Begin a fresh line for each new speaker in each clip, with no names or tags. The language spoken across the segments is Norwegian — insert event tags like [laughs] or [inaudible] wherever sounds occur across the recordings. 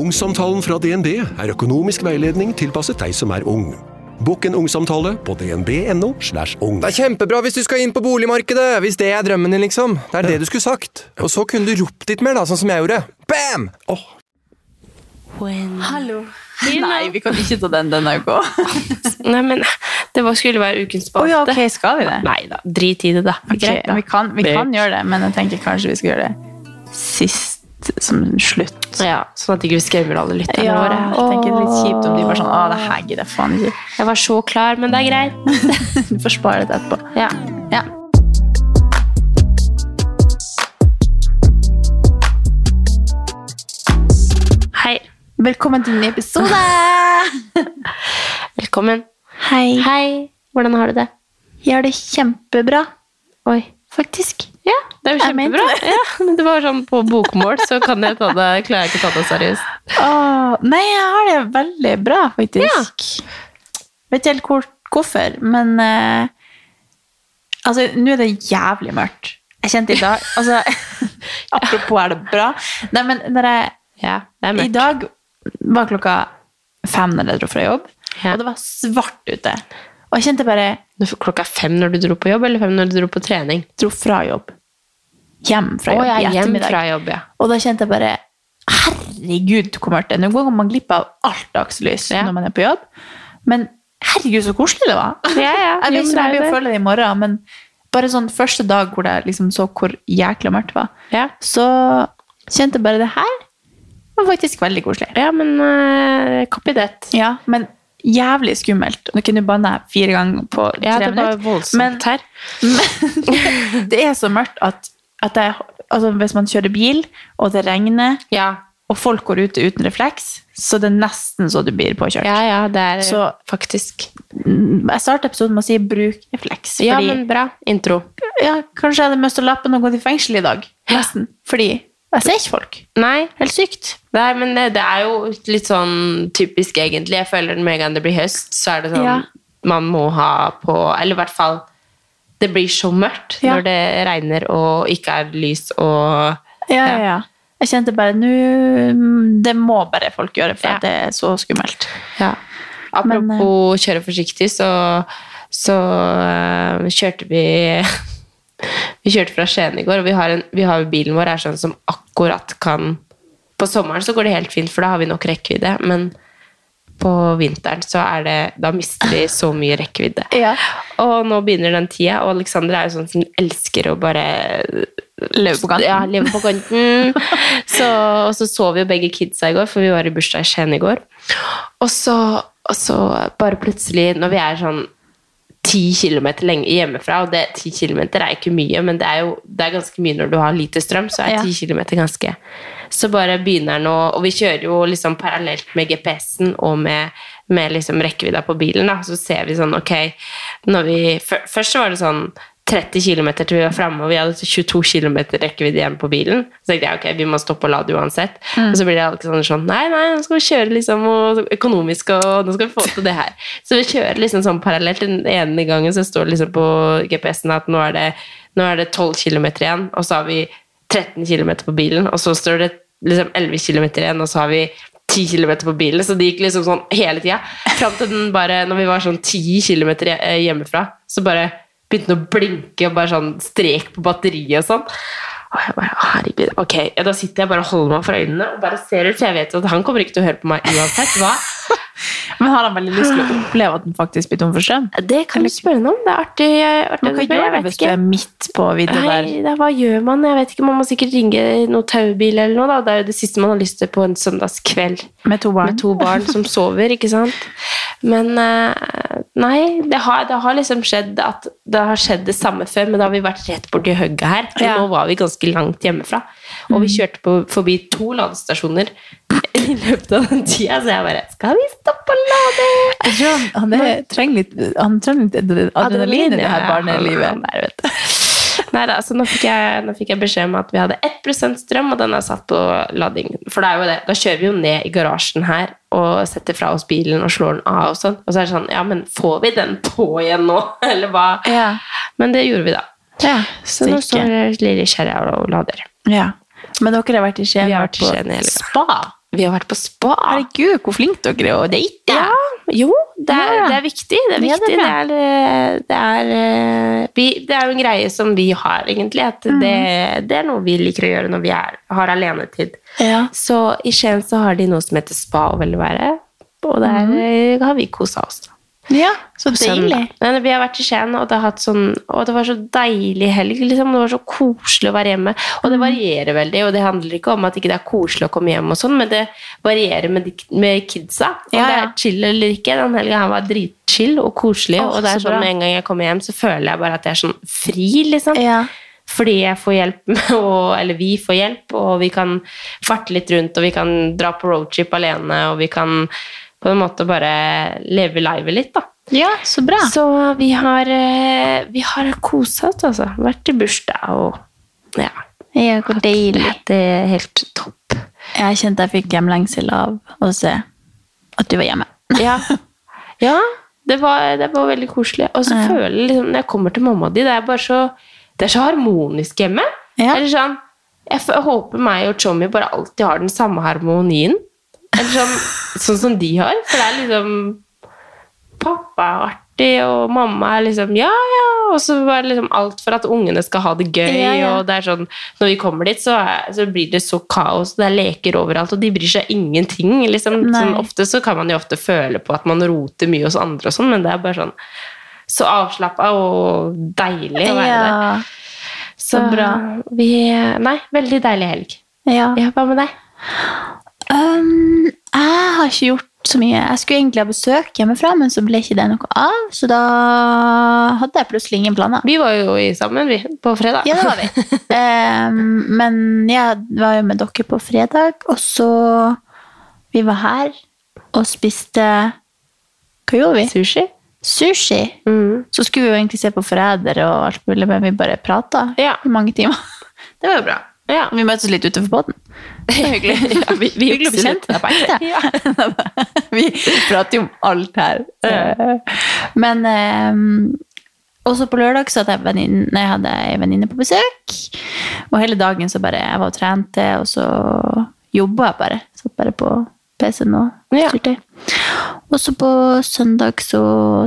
Ungsamtalen fra DNB er økonomisk veiledning tilpasset deg som er ung. Bokk en ungsamtale på dnb.no. slash ung.
Det er kjempebra hvis du skal inn på boligmarkedet, hvis det er drømmen din, liksom. Det er det du skulle sagt. Og så kunne du ropt litt mer, da, sånn som jeg gjorde. Bam! Åh,
Hallo. Nei, vi kan ikke ta den denne uka. [laughs] Nei, men det var, skulle være ukens spalte. Skal vi det? Nei da, drit i det, da. vi kan, vi kan gjøre det, men jeg tenker kanskje vi skal gjøre det sist, som slutt. Ja, Sånn at ikke vi skremmer alle lytterne våre. Jeg tenker det er litt kjipt om de bare sånn Å, det her gidder jeg faen ikke. [laughs] Jeg var så klar, men det er greit. du får spare det etterpå. Ja. ja. Hei. Velkommen til en ny [laughs] episode! Velkommen. Hei. Hvordan har du det? Jeg har det kjempebra. Oi. Faktisk. Ja, det er jo kjempebra. Ja, men det var sånn på bokmål, så kan jeg ta det, klarer jeg ikke å ta det seriøst. nei, jeg har det veldig bra, faktisk. Vet ikke helt hvor, hvorfor, men eh, Altså, nå er det jævlig mørkt. Jeg kjente i [laughs] dag altså, Apropos er det bra. Nei, men når jeg i dag var klokka fem når jeg dro fra jobb, og det var svart ute. Og jeg kjente bare Klokka fem når du dro på jobb, eller fem når du dro på trening? Dro fra jobb. Hjem fra jobb i ettermiddag. Og da kjente jeg bare Herregud, hvor mørkt det er. Nå går man glipp av alt dagslys når man er på jobb. Men herregud, så koselig det var. [laughs] Jeg vet ikke om jeg blir å føle det i morgen, men bare sånn første dag hvor jeg liksom så hvor jækla mørkt det var, så kjente jeg bare det her det var faktisk veldig koselig. Ja, men uh, copy that. Ja, men jævlig skummelt. Nå kunne du banne fire ganger på tre minutter. Ja, det var voldsomt men, her. Men det er så mørkt at, at jeg, altså, hvis man kjører bil, og det regner, og folk går ute uten refleks, så det er nesten så du blir påkjørt. Ja, ja, det er så, faktisk. mm, Jeg starter episoden med å si 'bruk refleks'. Ja, men bra. Intro. Ja, kanskje jeg hadde mistet lappen og gått i fengsel i dag. Nesten. Fordi jeg ser ikke folk. Nei. Helt sykt. Nei, men det, det er jo litt sånn typisk, egentlig. Jeg føler med en gang det blir høst, så er det sånn Man må ha på Eller i hvert fall Det blir så mørkt når det regner og ikke er lys og Ja, ja, ja. Jeg kjente bare nå mm, Det må bare folk gjøre, for det er så skummelt. Ja. Apropos kjøre forsiktig, så, så øh, kjørte vi [laughs] vi kjørte fra Skien i går, og vi har, en, vi har jo bilen vår er sånn som akkurat kan På sommeren så går det helt fint, for da har vi nok rekkevidde, men på vinteren så er det Da mister vi så mye rekkevidde. Og nå begynner den tida, og Alexander er jo sånn som elsker å bare Leve på kanten. Ja, leve på kanten. så, og så sov jo begge kidsa i går, for vi var i bursdag i Skien i går. Og så, og så bare plutselig, når vi er sånn ti kilometer lenge hjemmefra, og det, ti kilometer er ikke mye, men det er jo det er ganske mye når du har lite strøm, så er ti kilometer ganske Så bare begynner den å Og vi kjører jo liksom parallelt med GPS-en og med, med liksom rekkevidda på bilen, da, så ser vi sånn, ok når vi, før- Først så var det sånn 30 km til vi var framme, og vi hadde 22 km rekkevidde igjen på bilen. Så tenkte jeg ok, vi må stoppe og lade uansett. Og så blir det Alexander sånn nei, nei, nå skal vi kjøre liksom og, økonomisk, og nå skal vi få til det her. Så vi kjører liksom sånn parallelt. Den ene gangen så står det liksom på GPS-en at nå er det, nå er det 12 km igjen, og så har vi 13 km på bilen, og så står det liksom 11 km igjen, og så har vi 10 km på bilen, så det gikk liksom sånn hele tida. Fram til den bare, når vi var sånn 10 km hjemmefra, så bare begynte den å blinke og bare sånn strek på batteriet og sånn. Og jeg bare, herregud, ok. Ja, da sitter jeg bare og holder meg for øynene og bare ser ut, for jeg vet jo at han kommer ikke til å høre på meg uansett hva.
Men har han veldig lyst til å [gasps] oppleve at den faktisk blir tom for strøm?
Det kan du spørre ham om. Det er artig. eh, artig
Man kan gjøre det hvis du er midt på vidda der.
Nei, da, hva gjør man? Jeg vet ikke, Man må sikkert ringe noen taubil eller noe. Da. Det er jo det siste man har lyst til på en søndagskveld
Med to barn.
med to barn som sover, ikke sant? Men eh, nei, det har, det har liksom skjedd at det har skjedd det samme før, men da har vi vært rett borti hugget her. Og
Ja. Mm.
nå var vi ganske langt hjemmefra. Og vi kjørte på, forbi to ladestasjoner i løpet av den tida, så jeg bare Skal vi stoppe og lade?
Jeg tror han, han, er, trenger litt, han trenger litt adrenalin, i det her
ja.
barnelivet.
Han er, vet du. Neida, så nå fikk, jeg, nå fikk jeg beskjed om at vi hadde 1 strøm, og den er satt på lading. For det er jo det, da kjører vi jo ned i garasjen her og setter fra oss bilen og slår den av og sånn. Og så er det sånn, ja, men får vi den på igjen nå, [laughs] eller hva?
Ja.
Men det gjorde vi da.
Ja,
Så nå står lille kjerra og lader.
Ja. Men dere sånn. har vært i Skien,
Vi har vært i
på
Skien hele uka.
spa.
Vi har vært på spa.
Herregud, hvor flinke dere er å date!
Ja, jo, det er,
Ja.
det er viktig. Det er,
Ja, det er
viktig. Det, er, eh, det, er, eh, vi, det er jo en greie som vi har, egentlig. At det, det er noe vi liker å gjøre når vi er, har alenetid.
Mhm. Ja.
Så i Skien så har de noe som heter spa og velvære. Og der
Mhm.
eh, har vi kosa oss. da.
Ja, så
På søndag.
deilig.
Nei, nei, vi har vært i Skien, og det, har hatt sånn, og det var så deilig helg. Liksom. Det var så koselig å være hjemme. Og
Mm.
det varierer veldig, og det handler ikke om at ikke det ikke er koselig å komme hjem, og sånn, men det varierer med, de, med kidsa. Om
Ja,
det
ja.
er chill eller ikke. Den helga her var dritchill og koselig.
Åh,
og det
så
er sånn
bra.
med en gang jeg kommer hjem, så føler jeg bare at jeg er sånn fri, liksom.
Ja.
Fordi jeg får hjelp, [laughs] med å- eller vi får hjelp, og vi kan farte litt rundt, og vi kan dra på roadtrip alene, og vi kan på en måte bare leve livet litt, da.
ja, så bra.
Så vi har, eh, vi har kosa oss, altså. Vært i bursdag og ja.
Ja, hvor deilig.
Det er helt topp.
Jeg kjente jeg fikk hjemlengsel av å se at du var hjemme.
[laughs] Ja. ja det, var, det var veldig koselig. Og så
Ja.
føler jeg liksom, når jeg kommer til mamma di, det er bare så, det er så harmonisk hjemme.
Ja.
Eller sånn, jeg, f- håper meg og Tommy bare alltid har den samme harmonien. Eller
[laughs]
sånn, sånn som de har. For det er liksom Pappa er artig, og mamma er liksom ja, ja. Og så var det liksom alt for at ungene skal ha det gøy.
Ja, ja.
og det er sånn, Når vi kommer dit, så, er, så blir det så kaos. Det er leker overalt, og de bryr seg ingenting. liksom.
Nei.
Sånn, ofte så kan man jo ofte føle på at man roter mye hos andre, og sånn, men det er bare sånn så avslappa og deilig å være der.
Ja,
Så
bra.
Vi, nei, veldig deilig helg.
ja.
Ja, Hva med deg?
Um, jeg har ikke gjort så mye. Jeg skulle egentlig ha besøk hjemmefra, men så ble ikke det noe av. Så da hadde jeg plutselig ingen planer.
Vi var jo i sammen vi, på fredag.
Ja, det var vi. um, men jeg var jo med dere på fredag, og så Vi var her og spiste Hva gjorde vi?
[laughs] Sushi.
Sushi.
Mm.
Så skulle vi jo egentlig se på Forræder og alt mulig, men vi bare prata
Ja.
i mange timer. Det var jo bra.
Ja.
Og vi møtes litt utenfor båten. Det er [laughs]
[laughs]
hyggelig. [laughs] vi, vi
Hyggelig å bli kjent.
deg på ekte. [laughs] vi prater jo om alt her.
Ja.
Men eh, også på lørdag så hadde jeg, venninne, nei, jeg hadde ei venninne på besøk. Og hele dagen så bare jeg var og trente, og så jobba jeg bare. Satt bare på PC-en og
Ja.
styrte. Og så på søndag så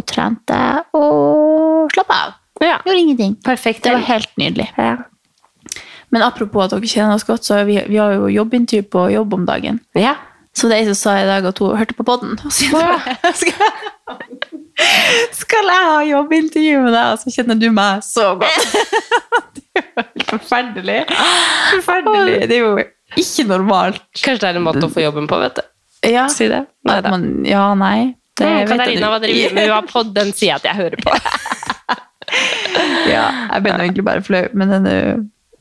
trente jeg og slappa av.
Ja.
Gjorde ingenting.
Perfekt.
Det var helt nydelig.
Ja.
Men apropos at dere kjenner oss godt, så har vi, vi har jo jobbintervju på jobb om dagen. [laughs]
ja.
Så det er ei som sa i dag at hun hørte på podden. Og så skal, skal jeg ha jobbintervju med deg, og så kjenner du meg så godt? [laughs] Det er jo helt forferdelig. Forferdelig. Det er jo ikke normalt.
Kanskje det er en måte å få jobben på, vet du.
Ja,
Si det. Nei
at
da.
man, ja nei. Det
Mm,
vet jeg
Katarina, hva
ikke.
driver du med? Hun har podd, den sier at jeg hører på. [laughs]
Ja, jeg ble nå egentlig bare flau, men den er jo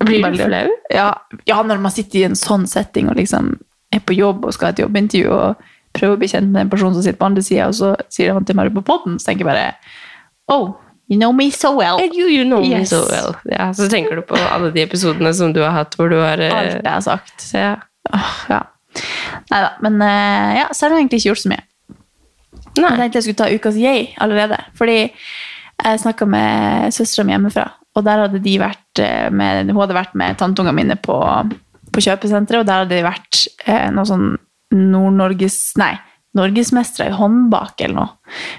Blir du
veldig-
flau?
Ja, ja, når man sitter i en sånn setting og liksom er på jobb og skal ha et jobbintervju og prøver å bli kjent med en person som sitter på andre sida, og så sier de at de har hørt på podden, så tenker jeg bare Oh, you know me so well.
You, you know me
Yes.
so well. Ja, så tenker du på alle de episodene som du har hatt hvor du har eh,
Alt jeg har sagt.
ja.
Åh, ja. Nei da. Men eh, ja, så har jeg egentlig ikke gjort så mye. Jeg
Nei.
tenkte jeg skulle ta ukas yay allerede. Fordi jeg snakka med søstera mi hjemmefra, og der hadde de vært eh, med, hun hadde vært med tanteungene mine på, på kjøpesenteret, og der hadde de vært eh, noe sånn Nord-Norges Nei, norgesmestere i håndbak eller noe.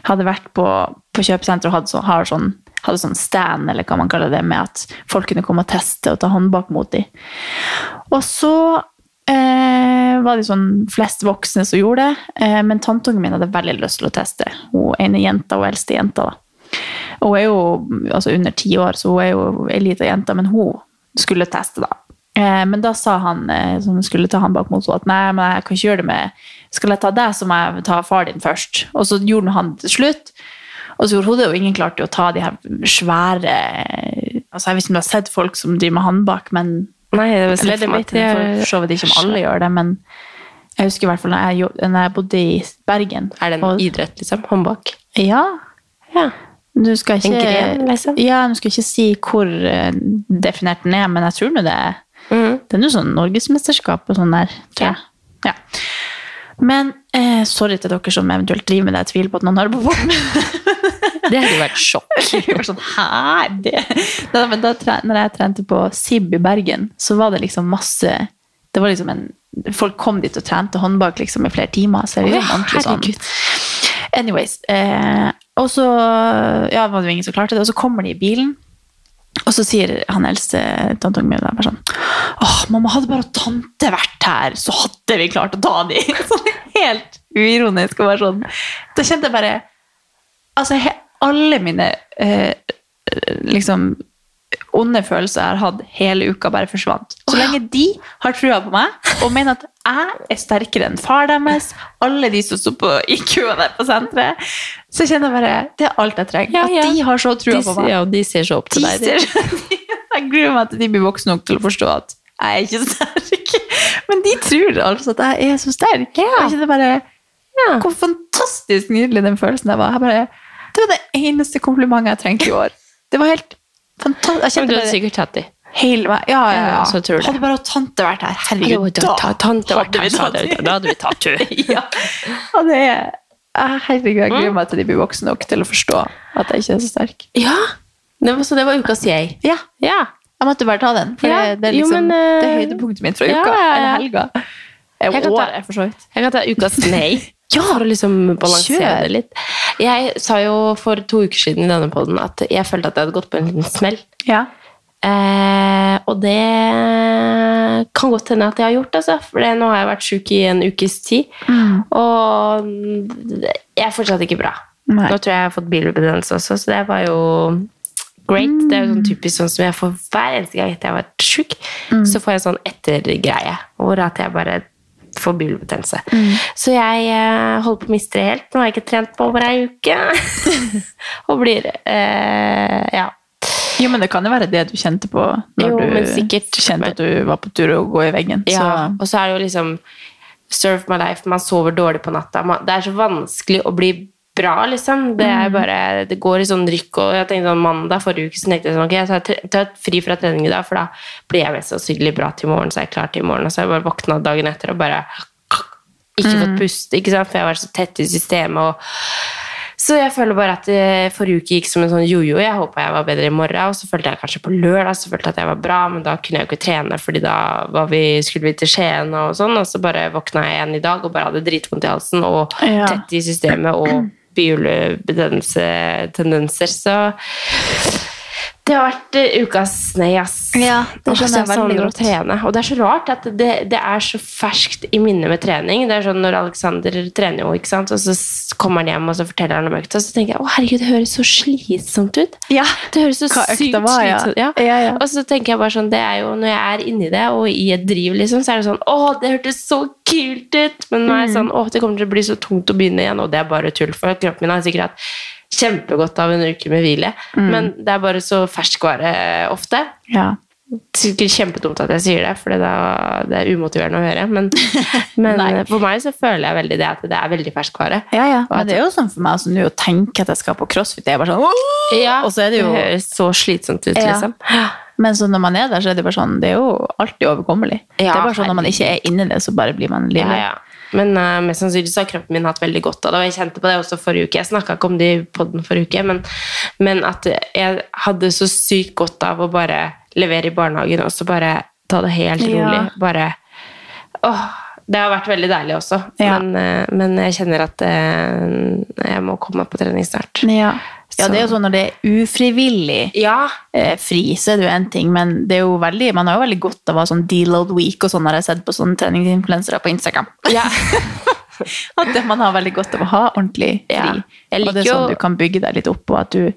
Hadde vært på, på kjøpesenteret og hadde sånn, har sånn, hadde sånn stand, eller hva man kaller det, med at folk kunne komme og teste og ta håndbak mot dem. Og så eh, var det sånn flest voksne som gjorde det, eh, men tanteungen min hadde veldig lyst til å teste. Hun ene jenta, hun eldste jenta. da. Og Hun er jo altså under ti år, så hun er jo ei lita jente, men hun skulle teste, da. Eh, men da sa han eh, som skulle ta han bak mot henne, at nei, men jeg kan ikke gjøre det med Skal jeg ta deg, så må jeg ta far din først. Og så gjorde han det til slutt. Og så gjorde hun det, og ingen klarte jo å ta de her svære altså Jeg vet ikke om du har sett folk som driver med håndbak, men
Nei, det var
eller,
slett
for, for så vidt ikke om alle gjør det, men Jeg husker i hvert fall når jeg, jo- når jeg bodde i Bergen.
Er det en
Og-
idrett, liksom? Håndbak?
Ja.
Ja.
Du skal ikke,
En gren, liksom?
Ja, du skal ikke si hvor eh, definert den er, men jeg tror nå det er
Mm.
Det er noe sånn norgesmesterskap og sånn der, tror jeg. Ja. Men eh, sorry til dere som eventuelt driver med det. Jeg tviler på at noen hører på
Det hadde jo vært sjokk. [laughs]
[laughs] Jeg var sånn, hæ? Det? Da, men da, tre- når jeg trente på SIB i Bergen, så var det liksom masse det var liksom en, Folk kom dit og trente håndbak liksom i flere timer. Så det var
Oi,
ordentlig
herregud.
sånn. Anyways. Eh, og så ja, var det jo ingen som klarte det, og så kommer de i bilen. Og så sier han eldste tanteungen min da bare sånn Åh, mamma, hadde bare tante vært her, så hadde vi klart å ta de. [laughs] Sånn helt uironisk og bare sånn. Da kjente jeg bare Altså, he, alle mine eh, liksom onde følelser jeg har hatt hele uka, bare forsvant. Så lenge de har trua på meg og mener at jeg er sterkere enn far deres, alle de som sto på- i køa der på senteret, så kjenner jeg bare Det er alt jeg trenger.
Ja, ja.
At de har så
De,
trua på meg.
ja, og de ser så opp til deg. de.
Teaser. [laughs] Jeg gruer meg til de blir voksne nok til å forstå at jeg er ikke sterk. [laughs] Men de tror altså at jeg er så sterk. Og Jeg kjenner bare
Ja.
hvor fantastisk nydelig den følelsen der var. Jeg bare, det var det eneste komplimentet jeg trengte i år. Det var helt fantastisk. Jeg
Men Du
kjente
hadde
bare
sikkert tatt de.
hele meg. Ja, ja,
Ja,
ja.
så tror du det.
Hadde bare tante vært her, herregud,
Herregud, da, ta, tante,
hadde vi tatt de.
da hadde vi tatt henne. [laughs]
Ja, og det er... ah, Herregud, jeg
Mm.
gruer meg til de blir voksne nok til å forstå at jeg ikke er så sterk.
Ja, det var, så det var ukas jeg.
Ja,
Ja.
Jeg måtte bare ta den, for
Ja,
det, det er
jo,
liksom
men, eh,
det er høydepunktet mitt fra
ja,
uka.
ja, ja.
Eller helga. Jeg
Jeg kan ta-
året, for så vidt.
Jeg kan ta ukas nei. [laughs] for å liksom balansere
kjør.
det litt. Jeg sa jo for to uker siden i denne podden at jeg følte at jeg hadde gått på en liten smell.
Ja.
Eh, og det kan godt hende at jeg har gjort, altså. For det, nå har jeg vært sjuk i en ukes tid. Og jeg er fortsatt ikke bra.
Nei.
Nå tror jeg jeg har fått bilbedømmelse også, så det var jo great. Det er jo sånn typisk sånn som jeg får hver eneste gang etter jeg har vært sjuk. Så får jeg sånn ettergreie hvor at jeg bare får bilbetennelse. Så jeg eh, holder på å miste det helt. Nå har jeg ikke trent på over ei uke. [laughs] og blir eh, Ja.
Jo, men det kan jo være det du kjente på når
Jo, men
du
sikkert.
kjente at du var på tur å gå i veggen.
Ja,
Mm, Så.
og så er det jo liksom Serve my life, man sover dårlig på natta. Man, det er så vanskelig å bli bra, liksom. Det, er bare, det går i sånn rykk. Og jeg tenkte sånn mandag forrige uke så tenkte jeg sånn, ok, jeg tar, tre- tar fri fra trening i dag, for da blir jeg mest sannsynlig bra til i morgen, så er jeg klar til i morgen. Og så har jeg bare våkna dagen etter og bare ikke
Mm.
fått puste, ikke sant? for jeg har vært så tett i systemet. og så jeg føler bare at eh, forrige uke gikk som en sånn jojo. Jeg håpa jeg var bedre i morgen, og så følte jeg kanskje på lørdag så følte jeg at jeg var bra, men da kunne jeg jo ikke trene, fordi da var vi, skulle vi til Skien og sånn. Og så bare våkna jeg igjen i dag og bare hadde dritvondt i halsen og
Ja.
tett i systemet og bihulebetennelser. Så det har vært eh, ukas nei, ass.
Ja, det
Åh, så
skjønner jeg
jeg
veldig
savner å
godt.
trene. Og det er så rart at det, det er så ferskt i minnet med trening. Det er sånn når Alexander trener jo, ikke sant? og så s- kommer han hjem og så forteller han om økta, så tenker jeg å herregud, det høres så slitsomt ut.
Ja.
Det høres så
Hva økta
sykt
var, ja.
slitsomt ut. Ja.
Ja, ja.
Og så tenker jeg bare sånn, det er jo når jeg er inni det og i et driv, liksom, så er det sånn å, det hørtes så kult ut! Men nå er
Mm.
jeg sånn å, det kommer til å bli så tungt å begynne igjen, og det er bare tull, for kroppen min har sikkert hatt kjempegodt av en uke med hvile,
Mm.
men det er bare så ferskvare eh, ofte.
Ja.
Sikkert kjempedumt at jeg sier det, for det er, det er umotiverende å høre.
[laughs]
Men, men for meg så føler jeg veldig det at det er veldig ferskvare.
ja, ja. Men det er jo sånn for meg altså, nå å tenke at jeg skal på crossfit. Det er bare sånn «Åh!» Og så er det jo
høres så slitsomt ut,
Ja.
liksom.
Men så når man er der, så er det bare sånn Det er jo alltid overkommelig. det
Ja,
er bare sånn Når man ikke er inni det, så bare blir man
Ja,
livlig.
ja. Men eh, mest sannsynlig så har kroppen min hatt veldig godt av det, og jeg kjente på det også forrige uke. Jeg snakka ikke om det i podden forrige uke, men, men at jeg hadde så sykt godt av å bare levere i barnehagen og så bare ta det helt
Ja.
rolig. Bare Åh, det har vært veldig deilig også,
Ja.
men, eh, men jeg kjenner at eh, jeg må komme meg på trening snart.
Ja. ja, det er jo sånn når det er ufrivillig
Ja,
eh, fri, så er det jo en ting, men det er jo veldig, man har jo veldig godt av å ha sånn deload week og sånn, har jeg sett på sånne treningsinfluensere på Instagram. [laughs] at det, man har veldig godt av å ha ordentlig fri.
Ja. Jeg
Og det
liker
er sånn
jo-
du kan bygge deg litt opp, og at du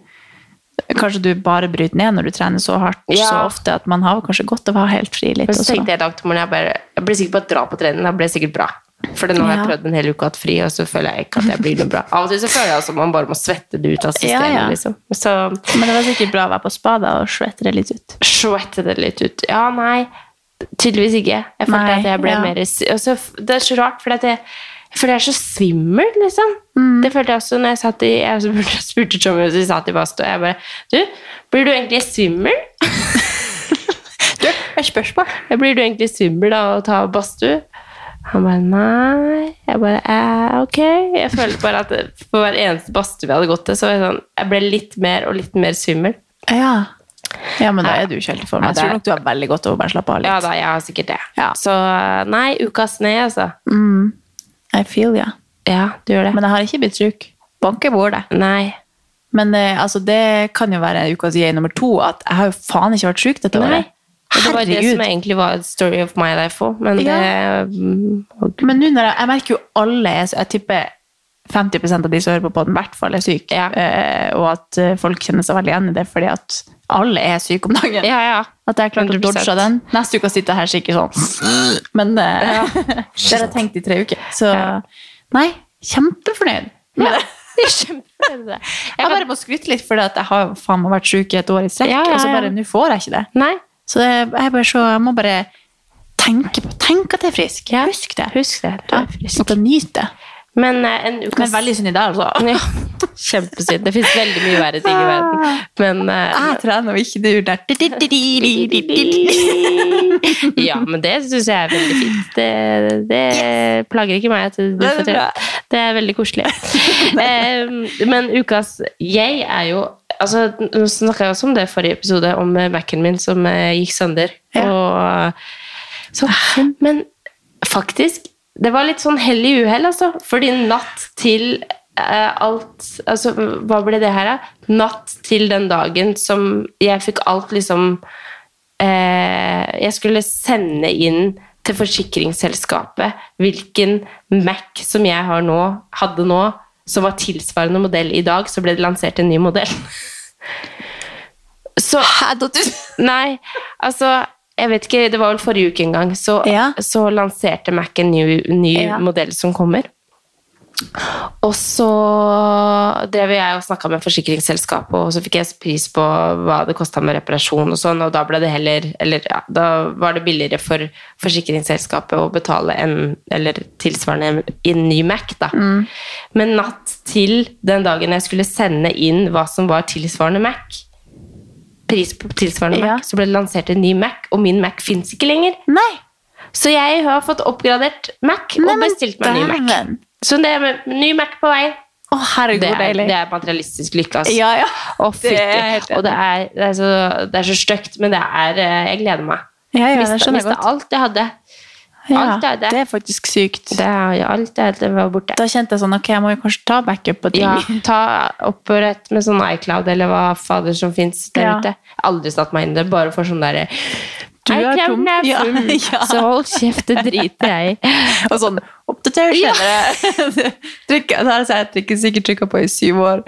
kanskje du bare bryter ned når du trener så hardt så
Ja.
ofte, at man har kanskje godt av å ha helt fri litt
Men så
også.
tenkte jeg i dag til morgen jeg, bare, jeg ble sikker på å dra på trening. Da ble det sikkert bra. For nå har jeg
Ja.
prøvd en hel uke og hatt fri, og så føler jeg ikke at jeg blir noe bra. Av og til så føler jeg som man bare må svette det ut av systemet.
Ja, ja.
Liksom. Så
Men det var sikkert bra å være på spa da, og svette det litt ut.
svette det litt ut. Ja, nei. Tydeligvis ikke. Jeg følte
Nei,
at jeg ble
ja.
mer s- og så f- Det er så rart, for at jeg, jeg føler jeg er så svimmel, liksom.
Mm.
Det følte jeg også [laughs] når jeg satt i Jeg spurte, spurte Tommy hvis vi satt i badstua, og jeg bare Du, blir du egentlig
[laughs]
svimmel? du, et spørsmål. [laughs] Blir du egentlig svimmel av å ta badstue? Han bare nei. Jeg bare eh, ok. Jeg føler bare at for hver eneste badstue vi hadde gått til, så var jeg sånn Jeg ble litt mer og litt mer svimmel.
Ja. ja, men da er du ikke helt i form.
Ja,
Jeg
det er-
tror nok du har veldig godt av å bare slappe av
Ja
litt.
da, jeg har sikkert det.
Ja.
Så eh, nei, ukas nei, altså.
I feel, ja.
Ja, du gjør det.
Men jeg har ikke blitt sjuk. Banker bordet.
nei.
Men eh, altså, det kan jo være ukas jeg nummer to, at jeg har jo faen ikke vært syk dette
nei.
året.
Og det var det
Herregud.
som egentlig var story of my life òg, men det mm, og-
Men nå når jeg, jeg merker jo alle er så- Jeg tipper 50 av de som hører på podden, i hvert fall er syke.
Ja.
Eh, og at eh, folk kjenner seg veldig igjen i det, fordi at alle er syke om dagen.
Ja, ja.
At jeg klarte å
100%.
dodge den. Neste uke sitter jeg her sikkert sånn. Men eh, det har jeg tenkt i tre uker. [laughs] Så [laughs]
Ja.
nei, kjempefornøyd. med det.
Jeg er kjempefornøyd med det.
[laughs] Jeg bare må skryte litt, for jeg har jo faen meg vært syk i et år i strekk.
Ja, ja,
Og så
ja.
bare, nå får jeg ikke det.
Nei,
Så det, jeg, bare så, jeg må bare tenke på Tenk at jeg er frisk. Husk det.
husk det. Du
Ja,
er frisk.
At jeg nyter det.
Men eh, en ukas
Men veldig synd i dag, altså.
ja, Kjempesynd. Det fins veldig mye verre ting i
Ah.
verden. Men eh,
Jeg trener og ikke du der.
Ja, men det syns jeg er veldig fint. Det, det plager ikke meg at du
Det er
får til
bra.
Det er veldig
[laughs]
koselig. Eh, men ukas jeg er jo altså, Nå snakka jeg også om det i forrige episode, om eh, Mac-en min som eh, gikk sønder.
Ja. Ah,
Og, så, men faktisk, det var litt sånn hell i uhell, altså. Fordi natt til eh, alt Altså, hva ble det her, da? Natt til den dagen som jeg fikk alt liksom eh, jeg skulle sende inn til forsikringsselskapet hvilken Mac som jeg har nå, hadde nå, som var tilsvarende modell i dag, så ble det lansert en ny modell. [laughs] Så Nei, altså jeg vet ikke, Det var vel forrige uke en gang, så,
Ja.
så lanserte Mac en ny, ny
Ja.
modell som kommer. Og så drev jeg og snakka med forsikringsselskapet, og så fikk jeg pris på hva det kosta med reparasjon og sånn, og da ble det heller Eller ja, da var det billigere for forsikringsselskapet å betale en Eller tilsvarende en ny Mac, da.
Mm.
Men natt til den dagen jeg skulle sende inn hva som var tilsvarende Mac, pris på tilsvarende
Ja.
Mac, så ble det lansert en ny Mac, og min Mac fins ikke lenger.
Nei,
Så jeg har fått oppgradert Mac og
men
bestilt meg en ny Mac.
dæven.
Så det er med ny Mac på vei.
Å, herregud,
Det er,
deilig.
det er materialistisk lykke, altså.
Ja, ja.
Å, fytti.
Det er helt enig.
og det er, det er så, det er så stygt, men det er eh, Jeg gleder meg.
Ja, ja, det
Mista-
skjønner jeg
mista
godt.
alt jeg hadde.
Ja,
alt er det.
det er faktisk sykt.
Det er jo alt jeg hadde var borte.
Da kjente jeg sånn, ok, jeg må jo kanskje ta backup på ting.
Ja, ta opprett med sånn iCloud eller hva fader som fins der
Ja.
ute. Aldri satt meg inn i det, bare for sånn derre
Du er tom.
iClouden er
Ja, [laughs]
full,
ja.
så hold kjeft, det driter jeg i.
[laughs] [laughs] Og sånn, oppdater [laughs] senere. Trykker- Det her har jeg trykker- sikkert trykket på i syv år.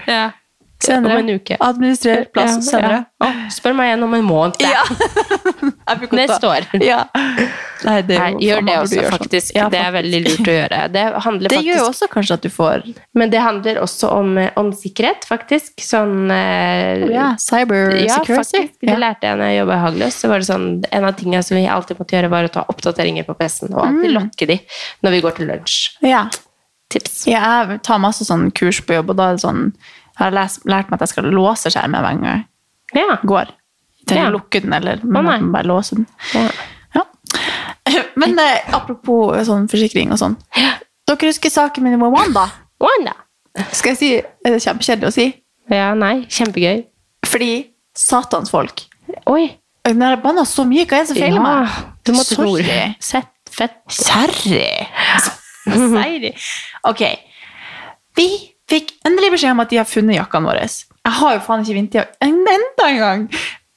Senere.
Om en uke.
Administrer plass
Eh, Ja,
senere.
ja. Å, Spør meg igjen om en måned.
Ja. [laughs] Jeg fikk godt
Neste
da.
år. [laughs]
Ja. Nei, det er
Nei, gjør
jo, faen,
det
man burde
også,
gjøre sånn.
faktisk.
Ja,
Det er veldig lurt å gjøre. Det handler
Det gjør
faktisk
jo også kanskje at du får
Men det handler også om, eh, om sikkerhet, faktisk. Sånn eh,
ja, cyber
ja,
security.
faktisk. Det lærte jeg når jeg jobba i Hagløs. Så var det sånn, en av tingene som vi alltid måtte gjøre, var å ta oppdateringer på PC-en. Og alltid
Mm.
lokke de når vi går til lunsj.
Ja.
Tips.
Ja, jeg tar masse sånn kurs på jobb, og da er det sånn Jeg har lært, lært meg at jeg skal låse skjermen hver gang jeg
Ja.
går. Jeg trenger
Ja.
ikke å lukke den, eller men
Å, nei.
man må bare låse den.
Ja.
Ja. [laughs] Men eh, apropos eh, sånn forsikring og sånn. Dere husker saken min nummer one, da?
Wanda.
Skal jeg si Er det kjempekjedelig å si?
Ja, nei. Kjempegøy.
Fordi satans folk
Oi.
Når jeg banner så mye, hva er det som feiler
Ja,
meg?
du måtte
Sorry.
roe. Sett. Fett.
Kjerri! Seier. Ok. Vi fikk endelig beskjed om at de har funnet jakkene våre. Jeg har jo faen ikke vinterjakke en- enda en gang.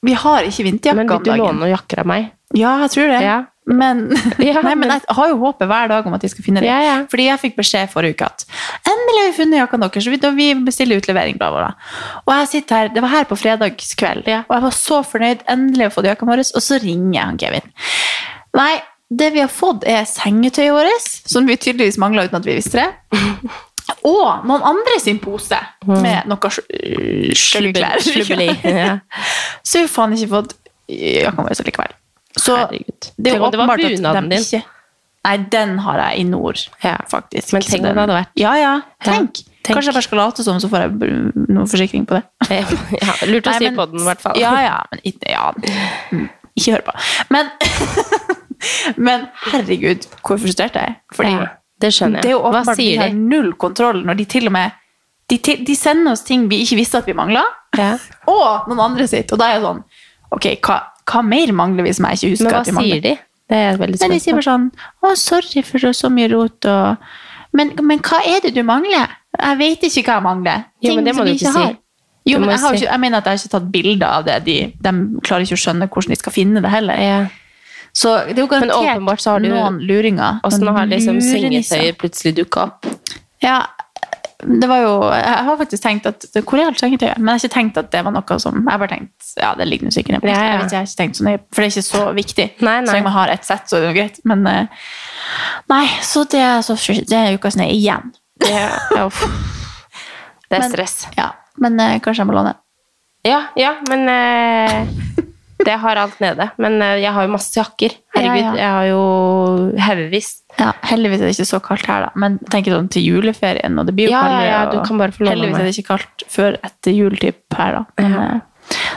Vi har ikke vinterjakke
Men vil
om
du låne
dagen.
noen jakker av meg?
Ja, jeg tror det.
Ja.
Men,
[laughs] Ja,
nei, men
men-
jeg har jo håpet hver dag om at de skal finne det.
Ja, ja.
Fordi jeg fikk beskjed forrige uke at endelig har vi funnet jakkene deres, så vi, da vi bestiller utlevering, bla, bla, bla. Og jeg sitter her, det var her på fredagskveld, og jeg var så fornøyd, endelig å få jakkene våre, og så ringer jeg han Kevin. Nei, det vi har fått er sengetøyet vårt, som vi tydeligvis manglet uten at vi visste
[laughs]
det. Og noen andre sin pose
Mm.
med noe øh, slubbeklær. [laughs]
Slubbeli. [laughs] Ja.
Så vi har faen ikke fått jakkene våre eh, likevel. Så
Herregud.
det er
Tenk
jo
om det var
åpenbart at
bunaden
de
din.
ikke Nei, den har jeg i nord,
Ja.
faktisk.
Men
Så
tenk om
den-
det hadde vært.
Ja, ja. Tenk.
tenk.
Kanskje jeg bare skal late som, så får jeg br- noe forsikring på det.
Ja, lurt å
Nei,
si
men-
på den, i hvert fall.
Ja, ja, men ikke- ja. Mm, Ikke hør på. Men, [laughs] men herregud, hvor frustrert jeg er. Fordi
Ja, det skjønner jeg.
Det er jo
Hva
åpenbart vi
sier de?
har null kontroll når de til og med de, til, de sender oss ting vi ikke visste at vi mangla,
Ja.
og noen andre sitt. Og da er jeg sånn Ok, hva, hva mer mangler vi som jeg ikke husker
Men hva
at vi mangler?
sier de? Det er jeg veldig
Nei, de
spent
sier bare sånn Å, sorry for så mye rot og men, men hva er det du mangler? Jeg vet ikke hva jeg mangler.
Jo,
Ting
men det må
som
du
vi
ikke si.
har. Jo,
Du
men
må
jeg, har jo
si-
ikke, jeg mener at jeg har ikke tatt bilder av det. De, de klarer ikke å skjønne hvordan de skal finne det heller.
Ja.
Så det er jo
åpenbart
garantert
så har du-
noen luringer.
Og så nå
noen
har liksom
lurenisser.
sengetøyet plutselig dukka opp.
Ja, det var jo Jeg har faktisk tenkt at Hvor er alt sengetøyet? Men jeg har ikke tenkt at det var noe som Jeg har bare tenkt Ja, det ligger nå sikkert nede på
Ja,
ja,
ja.
Jeg vet ikke, jeg har ikke tenkt så nøye, for det er ikke så viktig.
Nei, nei.
Så lenge man har ett sett, så er det jo greit. Men eh, Nei, så det er så frustrerende. Det er ukas ned igjen.
Ja, uff. Det er
Men-
stress.
Ja, men eh, kanskje jeg må låne.
Ja, ja, men eh, det har alt nede. Men eh, jeg har jo masse jakker. Herregud,
Ja, ja.
jeg har jo haugevis.
Ja, heldigvis er det ikke så kaldt her, da. Men tenk sånn til juleferien, og det blir jo
Ja, ja,
kaldere.
ja, du
og
kan bare få låne
Heldigvis er det ikke kaldt før etter juletyp her, da. Men, eh,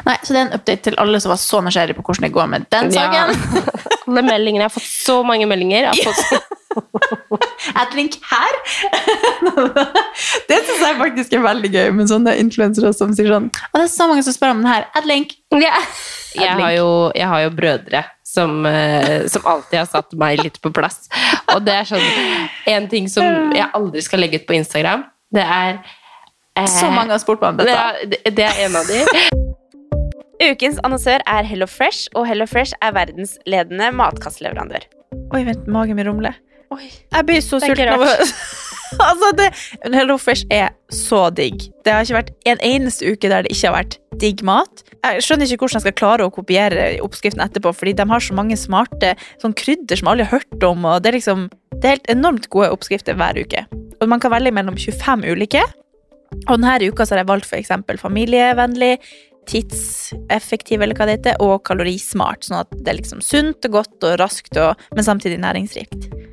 Nei, så det er en update til alle som var så nysgjerrig på hvordan det går med den
Ja. [laughs]
saken.
Alle meldingene. Jeg har fått så mange meldinger. Jeg har
[laughs]
fått,
Jeg drink her. [laughs] det syns jeg faktisk er veldig gøy med sånne influensere som sier sånn Og det er så mange som spør om den her. Adlink.
Ja. jeg, har jo, jeg har jo brødre som, eh, som alltid har satt meg litt på plass. Og det er sånn En ting som jeg aldri skal legge ut på Instagram, det er eh,
Så mange har spurt meg om
det
dette.
er, det- det er en av de.
[laughs] Ukens annonsør er Hello Fresh, og Hello Fresh er verdensledende matkastleverandør.
Oi, vent, magen min rumler.
Oi,
Jeg blir så
Det er ikke
sulten av å [laughs] Altså, det men Hello Fresh er så digg. Det har ikke vært en eneste uke der det ikke har vært digg mat. Jeg skjønner ikke hvordan jeg skal klare å kopiere oppskriften etterpå, fordi de har så mange smarte sånn krydder som alle har hørt om, og det er liksom Det er helt enormt gode oppskrifter hver uke. Og man kan velge mellom 25 ulike. Og denne uka så har jeg valgt for eksempel familievennlig, tidseffektiv, eller hva det heter, og kalorismart, sånn at det er liksom sunt og godt og raskt, og, men samtidig næringsrikt.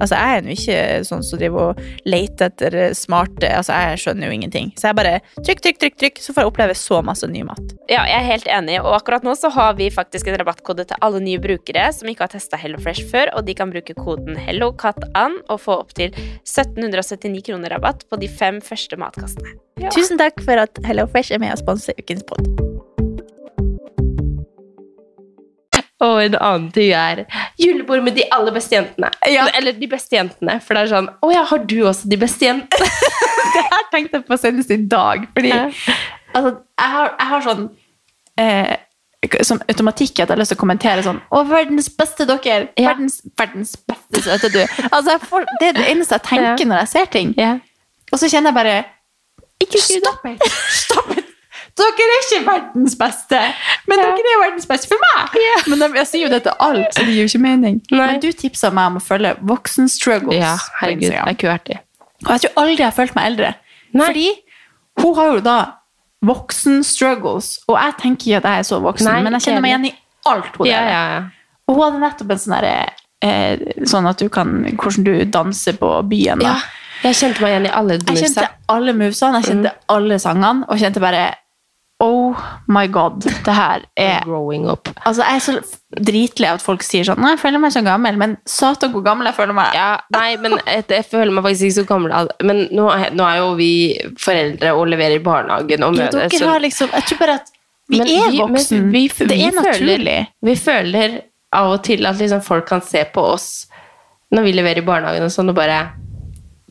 Altså, jeg er jo ikke sånn som driver og leter etter smarte Altså, jeg skjønner jo ingenting. Så jeg bare trykk, trykk, trykk, trykk, så får jeg oppleve så masse ny mat.
Ja, jeg er helt enig. Og akkurat nå så har vi faktisk en rabattkode til alle nye brukere som ikke har testa Hello Fresh før, og de kan bruke koden HelloCatAn og få opptil 1779 kroner rabatt på de fem første matkastene.
Tusen takk for at Hello Fresh er med og sponser ukens pod.
Og en annen ting er julebord med de aller beste jentene. Eller de beste jentene, for det er sånn Å ja, har du også de beste jentene? [laughs]
Det her tenkte jeg på senest i dag, fordi altså, jeg, har, jeg har sånn eh, som automatikk at jeg har lyst til å kommentere sånn Å, verdens beste dere!
Ja.
Verdens, verdens beste søte du! Altså, jeg får, det er det eneste jeg tenker
Ja.
når jeg ser ting. Og så kjenner jeg bare Ikke si det. Stopp it! Stopp it! Dere er ikke verdens beste, men dere er verdens beste for meg! Men de, jeg sier jo det til alt, så det gir jo ikke mening.
Nei.
Men du tipsa meg om å følge Voksen Struggles
Ja,
på
herregud, det
Instagram.
er ikke verdt det.
Og jeg tror aldri jeg har følt meg eldre.
Nei.
Fordi hun har jo da voksen struggles, og jeg tenker ikke at jeg er så voksen,
Nei,
men jeg kjenner meg igjen i alt hun
Ja,
gjør.
ja, ja.
Og hun hadde nettopp en sånn derre eh, Sånn at du kan Hvordan du danser på byen. Da.
ja. Jeg kjente meg igjen i alle
jeg kjente
musa. Mm.
alle movesene, jeg kjente alle sangene, og kjente bare Oh Oh my god, det her
[laughs]
er
Growing up.
Altså, jeg er så dritlei av at folk sier sånn «Nei, Jeg føler meg så gammel, men satan hvor gammel jeg føler meg.
Ja, nei, men et, jeg føler meg faktisk ikke så gammel. al- Men nå er, nå er jo vi foreldre og leverer i barnehagen og
Ja,
mødre,
dere
så-
har liksom Jeg tror bare at vi
Men
er
vi- men
voksen.
vi-
det
vi
er
føler-
naturlig.
Vi føler av og til at liksom folk kan se på oss når vi leverer i barnehagen og sånn, og bare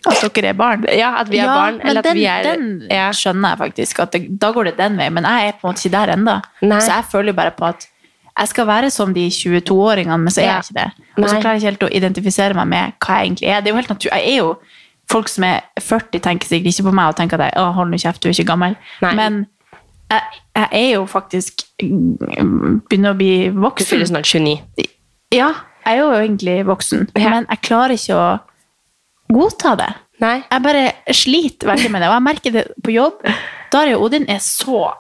At dere er barn.
Ja, at vi er
Ja,
barn.
men
Eller at
den,
vi er
den
ja.
skjønner jeg faktisk. At det, da går det den veien, men jeg er på en måte ikke der ennå.
Nei.
Så jeg føler jo bare på at jeg skal være som de 22-åringene, men så er
Ja.
jeg ikke det. Og så
Nei.
klarer jeg ikke helt å identifisere meg med hva jeg egentlig er. Det er jo helt natur jeg er jo Folk som er 40, tenker sikkert ikke på meg og tenker at jeg, å, hold nå kjeft, du er ikke gammel.
Nei.
Men jeg, jeg er jo faktisk mm, begynner å bli
Du
voksen.
fyller snart 29.
Ja, jeg er jo egentlig voksen,
Ja.
men jeg klarer ikke å godta det.
Nei.
Jeg bare sliter veldig med det, og jeg merker det på jobb. Dari og Odin er så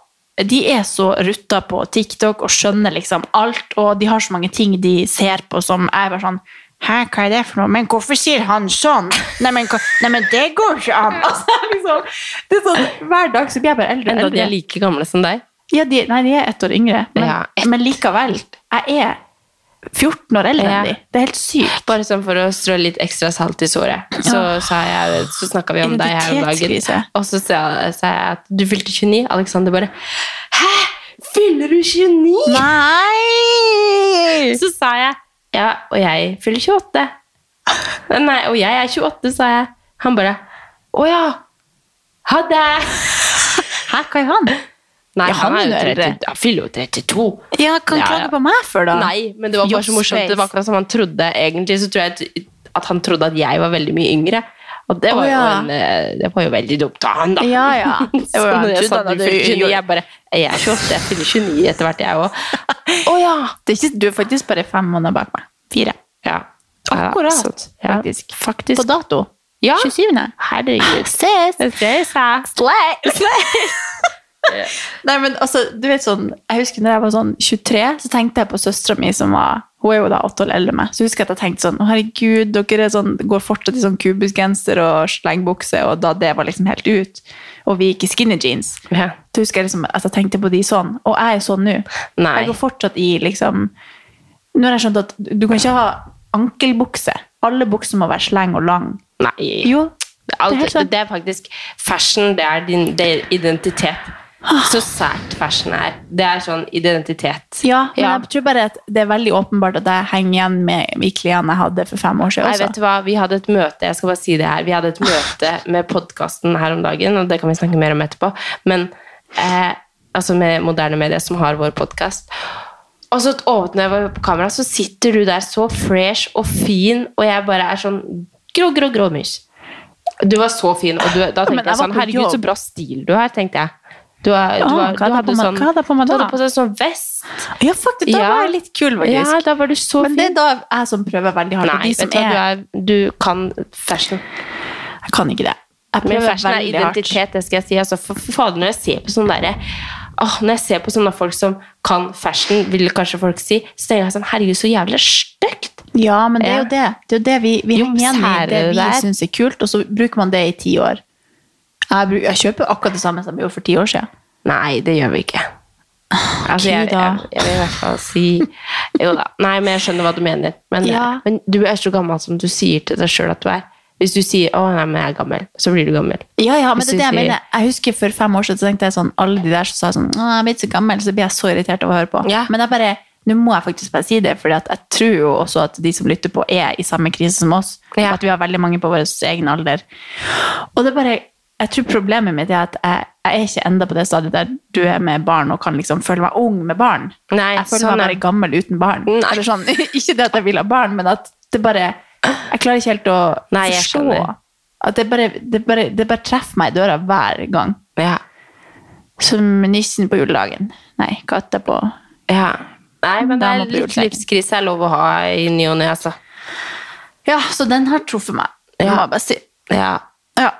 de er så rutta på TikTok og skjønner liksom alt, og de har så mange ting de ser på som jeg er bare sånn Hæ, hva er det for noe? Men hvorfor sier han sånn? Neimen, nei, men det går ikke an! [laughs] Altså, liksom, det er sånn, hver dag så blir jeg bare eldre og
Enda de
eldre.
er like gamle som deg.
Ja, de, nei, de er ett år yngre, men,
Ja, ett.
men likevel. Jeg er 14 år eldre
Ja.
enn de. Det er helt sykt.
Bare sånn for å strø litt ekstra salt i såret. Så, sa jeg- så snakka vi om deg her om dagen.
Identitetskrise.
Og så sa jeg, sa jeg at du fylte 29. Alexander bare Hæ? Fyller du 29?
Nei!
[laughs] Så sa jeg Ja, og jeg fyller 28. Nei, og jeg er 28, sa jeg. Han bare Å ja. Ha det.
Hæ, hva er han?
Nei,
Ja,
han,
han
er
er
jo
det.
30, han fyller jo 32.
Ja, kan
Ja,
klage
ja.
på meg for da.
Nei, men det var bare så
Your
morsomt. Det var
space.
akkurat som han trodde. Egentlig så tror jeg at, at han trodde at jeg var veldig mye yngre. Og det var,
Å, ja.
jo, en, eh, det var jo veldig dumt av han, da.
Ja,
[laughs]
ja. Det
Så
var jo
når jeg
han
sa du
trodde han hadde
fyller 29,
gjort-
jeg bare Jeg er 28, jeg fyller 29 etter hvert, jeg
[laughs]
òg.
Å ja! Det er ikke, du er faktisk bare fem måneder bak meg. Fire.
Ja. Ja,
Akkurat,
sånn. så- ja.
faktisk. På dato.
Ja.
27. Herregud. Ses! Ses, Slay! Nei, men altså, du vet sånn, jeg husker når jeg var sånn 23, så tenkte jeg på søstra mi som var, hun er jo da 8 år eldre enn meg, så husker jeg at jeg tenkte sånn, «Å, herregud, dere er sånn, går fortsatt i sånn kubusgenser og slengbukse, og da det var liksom helt ut, og vi gikk i skinny jeans.
Ja.
Så husker jeg liksom at jeg tenkte på de sånn, og jeg er sånn nå.
Nei.
Jeg går fortsatt i liksom Nå har jeg skjønt at du kan ikke ha ankelbukse. Alle bukser må være sleng og lang.
Nei.
Jo, det er
Alt,
helt sant.
det er faktisk Fashion, det er din det er identitet. Så sært fashion er. Det er sånn identitet.
Ja, men
Ja.
jeg tror bare at det er veldig åpenbart at jeg henger igjen med i klærne jeg hadde for fem år siden.
Nei,
Også.
vet du hva? Vi hadde et møte jeg skal bare si det her, vi hadde et møte med podkasten her om dagen, og det kan vi snakke mer om etterpå, men eh, altså med moderne medier som har vår podkast. Og så åpner jeg på kamera, så sitter du der så fresh og fin, og jeg bare er sånn grå, grå, grå mus. Du var så fin, og du, da tenkte
men jeg
jeg sånn,
var på
herregud,
jobb.
så bra stil du har, tenkte jeg. Du, har- du,
Ah,
har- du
hva hadde jeg på
hadde
meg-
sånn,
hva hadde jeg på meg
du
da?
hadde på deg sånn vest.
Ja, faktisk, da var jeg litt kul, faktisk.
Ja, da var du så
men
fin.
det er da jeg som prøver veldig hardt. og
Nei,
de som
vet du hva,
er,
du, er, du kan fashion.
Jeg kan ikke det. Jeg
Men
prøver
fashion er
veldig hardt.
identitet, det skal jeg si. Altså, for, for fader, når jeg ser på sånne derre Åh, når jeg ser på sånne folk som kan fashion, vil kanskje folk si, så tenker jeg sånn Herregud, så jævlig stygt!
Ja, men det er jo
Ja.
det. Det er jo det vi, vi
Jo,
henger igjen i
sære
det
det
vi
der.
syns er kult, og så bruker man det i ti år. Jeg, bruk, jeg kjøper akkurat det samme som jeg gjorde for ti år siden.
Nei, det gjør vi ikke. Altså, jeg,
Ok, da.
jeg, jeg vil i hvert fall si Jo da. Nei, men jeg skjønner hva du mener. Men,
Ja.
men du er så gammel som du sier til deg sjøl at du er. Hvis du sier 'Å, nei, men jeg er gammel', så blir du gammel.
Ja, ja, men det er det
Synes
jeg
vi-
mener. Jeg husker for fem år siden så tenkte jeg sånn, alle de der som sa sånn, «Å, jeg blir ikke så gammel, så blir jeg så irritert av å høre på.
Ja.
Men jeg bare, nå må jeg faktisk bare si det, for jeg tror jo også at de som lytter på er i samme krise som oss, og
Ja.
at vi har veldig mange på vår egen alder. Og det er bare, jeg tror problemet mitt er at jeg, jeg er ikke enda på det stadiet der du er med barn og kan liksom føle meg ung med barn.
Nei,
jeg føler
sånn
meg
er-
bare gammel uten barn.
Nei.
Eller sånn, [laughs] ikke det at jeg vil ha barn, men at det bare, jeg klarer ikke helt å
Nei, jeg
forstå
skjønner.
at det bare, det, bare, det bare treffer meg i døra hver gang.
Ja.
Som nissen på juledagen. Nei, katta på
ja. Nei, men det
Dama
er
på
litt
julesengen.
livskrise er lov å ha i ny og ne, altså.
Ja, så den har truffet meg. Det
Ja.
må jeg bare si.
Ja.
Ja.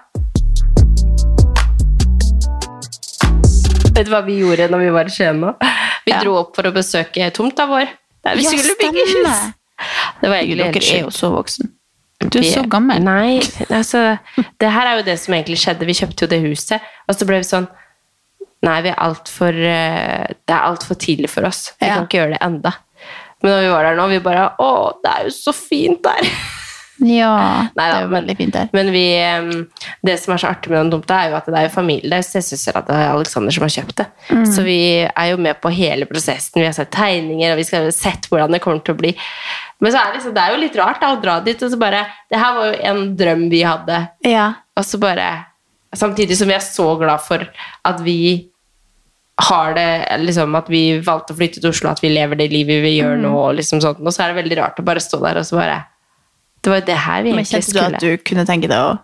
Vet du hva vi gjorde når vi var i Skien nå? Vi dro opp for å besøke tomta vår. Der vi
Ja,
skulle bygge
stemmer.
hus. Det var egentlig
Dere
helt
er jo
sjukt.
så voksen. Du er
Vi-
så gammel.
Nei, altså, det her er jo det som egentlig skjedde. Vi kjøpte jo det huset, og så ble vi sånn Nei, vi er alt for, eh, det er altfor tidlig for oss. Vi kan ikke gjøre det enda. Men når vi var der nå, vi bare Å, det er jo så fint der!
Ja,
det er jo veldig
fint der.
Men vi, ehm, det som er så artig med den tomta, er jo at det er jo familie. Det er jo stesøstera til Alexander som har kjøpt det.
Mm.
Så vi er jo med på hele prosessen. Vi har sett tegninger, og vi skal ha sett hvordan det kommer til å bli. Men så er det, liksom, det er jo litt rart da, å dra dit, og så bare Det her var jo en drøm vi hadde. Og så bare Samtidig som vi er så glad for at vi har det liksom At vi valgte å flytte til Oslo, at vi lever det livet vi
Mm.
gjør nå, og liksom sånt. Og så er det veldig rart å bare stå der og så bare Det var jo det her vi
Men
egentlig
kjente du
skulle.
at du kunne tenke deg å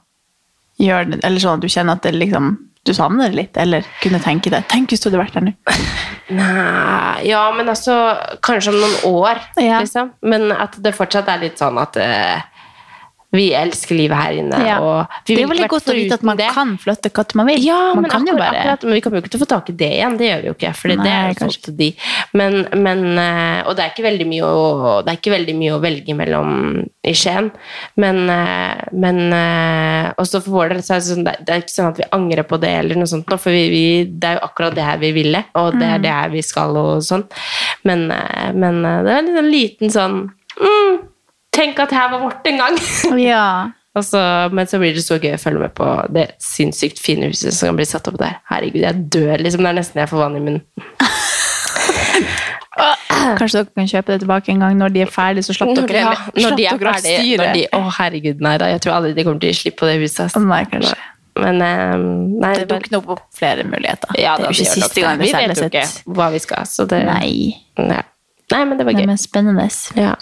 gjøre det, eller sånn at du kjenner at det liksom, du savner det litt, eller kunne tenke deg, tenk hvis du hadde vært der nå.
Nei Ja, men altså Kanskje om noen år, liksom. Men at det fortsatt er litt sånn at eh, vi elsker livet her inne.
Ja.
Og vi
det er
ville
veldig
ikke vært
godt å vite at man kan flytte hva man vil.
Ja,
man
men
kan
akkurat, akkurat, men vi kommer jo ikke til å få tak i det igjen. Det gjør vi jo ikke. Fordi det er jo sånn til de. Men, men, eh, og det er, ikke veldig mye å, det er ikke veldig mye å velge mellom i Skien. Men, eh, men eh, også for vår del så er det, sånn, det det er ikke sånn at vi angrer på det, eller noe sånt, nå, for vi, vi, det er jo akkurat det her vi ville, og
Mm.
det er det her vi skal, og sånn. Men, eh, men eh, det er en liten, liten sånn mm, Tenk at her var vårt en gang! [laughs]
ja.
Og så- men så blir det så gøy å følge med på det sinnssykt fine huset som kan bli satt opp der. Herregud, jeg dør liksom. Det er nesten jeg får vann i munnen. [laughs]
Kanskje dere kan kjøpe det tilbake en gang når de er ferdige, så slapp
Når,
dere
ja,
heller-
når
slapp
de er
dere av
ferdige.
styret.
Når de, å, herregud, nei da. Jeg tror aldri de kommer til å slippe på det huset. ass.
Nei, kanskje.
Men eh, nei,
Det dukker nok opp flere muligheter.
Ja,
det
gjør
er jo ikke
nok
siste gang
det.
vi
Vi vet
selger
jo ikke
sitt.
hva vi skal. Så det,
Nei.
Ja. Nei, men det var gøy.
men spennende.
Ja.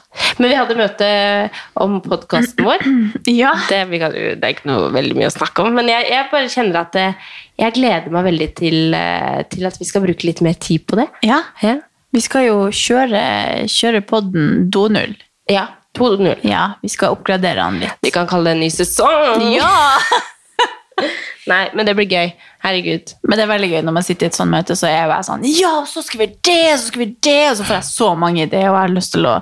Men vi hadde møte om podkasten
[clears throat]
vår. Det, vi kan, det er ikke noe veldig mye å snakke om, men jeg, jeg bare kjenner at eh, jeg gleder meg veldig til, eh, til at vi skal bruke litt mer tid på det.
Ja.
Ja.
Vi skal jo kjøre, kjøre podden 2.0.
Ja, 2.0.
Ja, vi skal oppgradere den litt.
Vi kan kalle det en ny sesong! Nei, men det blir gøy. Herregud.
Men det er veldig gøy når man sitter i et sånt møte, så er jeg bare sånn, ja, og så skal vi det, og så skal vi det, og så får jeg så mange ideer, og jeg har lyst til å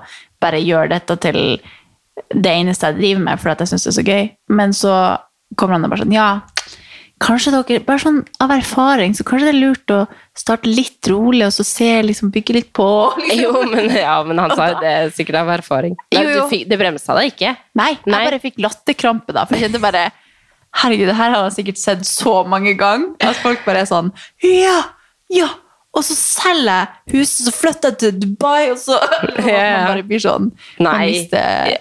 bare gjøre dette til det eneste jeg driver med, fordi at jeg synes det er så gøy. Men så kommer han og bare sånn, ja, kanskje dere, bare sånn av erfaring, så kanskje det er lurt å starte litt rolig, og så se, liksom bygge litt på.
Jo, men, ja, men han sa jo det sikkert av erfaring. Nei,
Jo, jo.
Du fikk, det bremsa deg ikke?
Nei, jeg bare fikk latterkrampe da, for jeg kjente bare, herregud, det her har jeg sikkert sett så mange ganger, at folk bare er sånn, ja, ja, og så selger jeg huset, så flytter jeg til Dubai, og så [laughs] og man bare blir sånn, man
Nei.
mister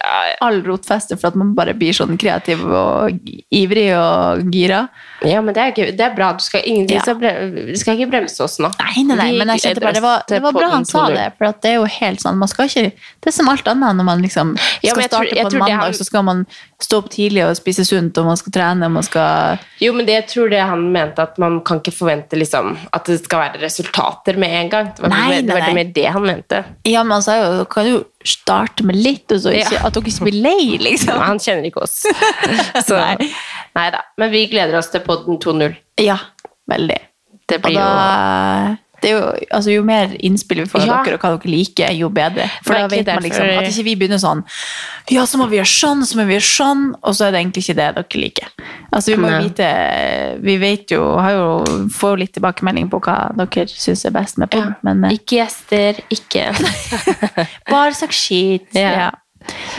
all rotfeste for at man bare blir sånn kreativ og ivrig og gira.
Ja, men det er, gøy. det er bra. Du skal, ingenting, skal bre- vi skal ikke bremse oss nå.
Nei, nei, nei, men jeg kjente bare, det var, det var bra han sa det, for at det er jo helt sånn, man skal ikke, det er som alt annet når man liksom skal
Ja, men jeg tror-
starte
jeg
på en
tror det
mandag,
han-
så skal man stå opp tidlig og spise sunt, og man skal trene, og man skal...
Jo, men det jeg tror det han mente at man kan ikke forvente liksom, at det skal være resultater med en gang. Det var,
Nei,
det, var
nei, nei.
mer det han mente.
Ja, men han sa jo, dere kan jo starte med litt, og så ikke,
Ja.
at dere ikke blir lei, liksom.
Han kjenner ikke
[laughs]
oss. Så, nei. da. Men vi gleder oss til podden 2.0.
Ja, veldig.
Det
Og
blir
da,
jo
det er jo, altså, jo mer innspill vi får av
Ja.
dere, og hva dere liker, jo bedre. For da
Virkelig
vet man liksom
derfor-
at ikke vi begynner sånn Ja, så må vi gjøre sånn, så må vi gjøre sånn, og så er det egentlig ikke det dere liker. Altså, vi må jo
Nei.
vite Vi vet jo, har jo, får jo litt tilbakemelding på hva dere syns er best med podden, men eh,
Ikke gjester, ikke
[laughs] bare sagt skit.
Ja.
Ja.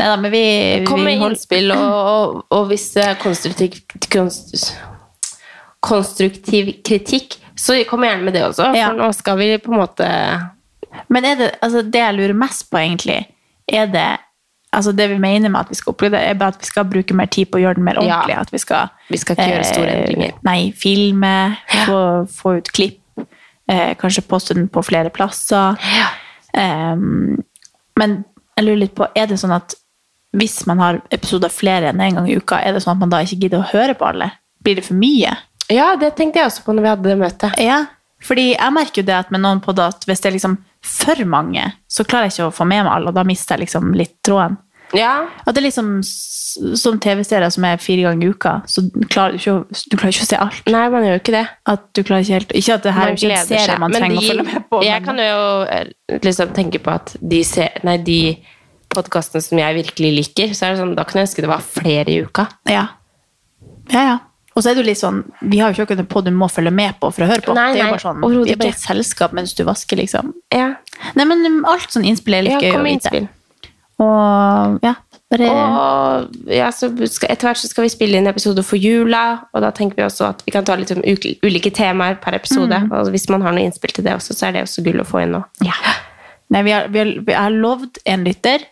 Neida, men vi,
Kom
vi
med innspill, og, og, og hvis det er konstruktiv, konst- konstruktiv kritikk, så kom gjerne med det også.
Ja.
For nå skal vi på en måte
Men er det, altså det jeg lurer mest på, egentlig, er det altså Det vi mener med at vi skal oppleve det, er bare at vi skal bruke mer tid på å gjøre den
Ja.
mer ordentlig. At vi skal, eh,
Vi skal ikke gjøre store endringer.
Nei, filme, få, få ut klipp, eh, kanskje poste den på flere plasser. Em, men jeg lurer litt på, er det sånn at hvis man har episoder flere enn én en gang i uka, er det sånn at man da ikke gidder å høre på alle? Blir det for mye?
Ja, det tenkte jeg også på når vi hadde det møtet.
Ja, fordi jeg merker jo det at med noen podder at hvis det er liksom for mange, så klarer jeg ikke å få med meg alle, og da mister jeg liksom litt tråden.
Ja,
At det er liksom s- som TV-serier som er fire ganger i uka, så klarer du ikke å, du klarer ikke å se alt.
Nei, man gjør jo ikke det.
At du klarer ikke helt Ikke at det her er
Man
ikke en
gleder
serie
seg.
man
Men
trenger
de-
å følge med på.
Jeg
men-
kan jo eh, liksom tenke på at de, se- nei, de podkastene som jeg virkelig liker, så er det sånn, da kunne jeg ønske det var flere i uka.
Ja. Ja, ja. Og så er det jo litt sånn, vi har jo ikke akkurat en podd du må følge med på for å høre på.
Nei,
det er
nei,
jo bare sånn,
overhodet
vi er bare
ikke.
et selskap mens du vasker, liksom. Nei, men um, alt sånn innspill er
Ja,
litt gøy
kom
å
med
vite.
innspill.
Og ja, bare...
Og ja, så skal, etter hvert så skal vi spille inn episoder for jula, og da tenker vi også at vi kan ta litt om uk- ulike temaer per episode.
Mm.
Og hvis man har noe innspill til det også, så er det også gull å få inn nå.
Nei, vi har, vi har, vi har lovd en lytter.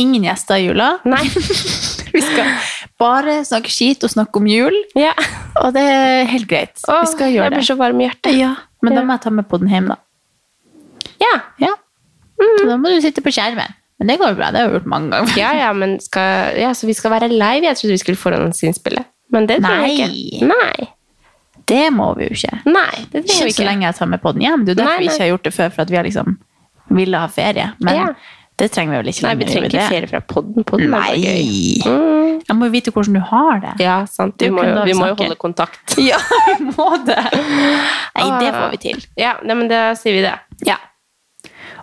Ingen gjester i jula.
Nei.
[laughs] vi skal bare snakke skit og snakke om jul. Og det er helt greit. vi skal gjøre
jeg blir
det.
så varm i hjertet.
Ja, men
Ja.
da må jeg ta med podden hjem, da.
Ja.
Så da må du sitte på skjermen. Men det går jo bra. Det har jeg gjort mange ganger.
Mm. Ja, ja, men skal, ja, så vi skal være live. Jeg trodde vi skulle forhåndsinnspille. Men det tror jeg ikke. Nei.
Det må vi jo ikke.
Nei, det trenger
Ikke
vi
så
ikke.
lenge jeg tar med podden hjem. Det er jo derfor
Nei,
vi
nei.
ikke har gjort det før, for at vi har liksom ville ha ferie. Men
Ja.
det trenger vi vel ikke
Nei, vi
lenger
trenger
gjør vi
ikke
det?
ferie fra podden. Podden er bare gøy. Mm.
Nei! Jeg må jo vite hvordan du har det.
Ja, sant.
Det
Vi må
er jo kun
jo,
da vi
vi må jo
snakker.
holde kontakt.
Ja, [laughs] vi må det. Nei, det får vi til.
Ja, nei, men da sier vi det.
Ja.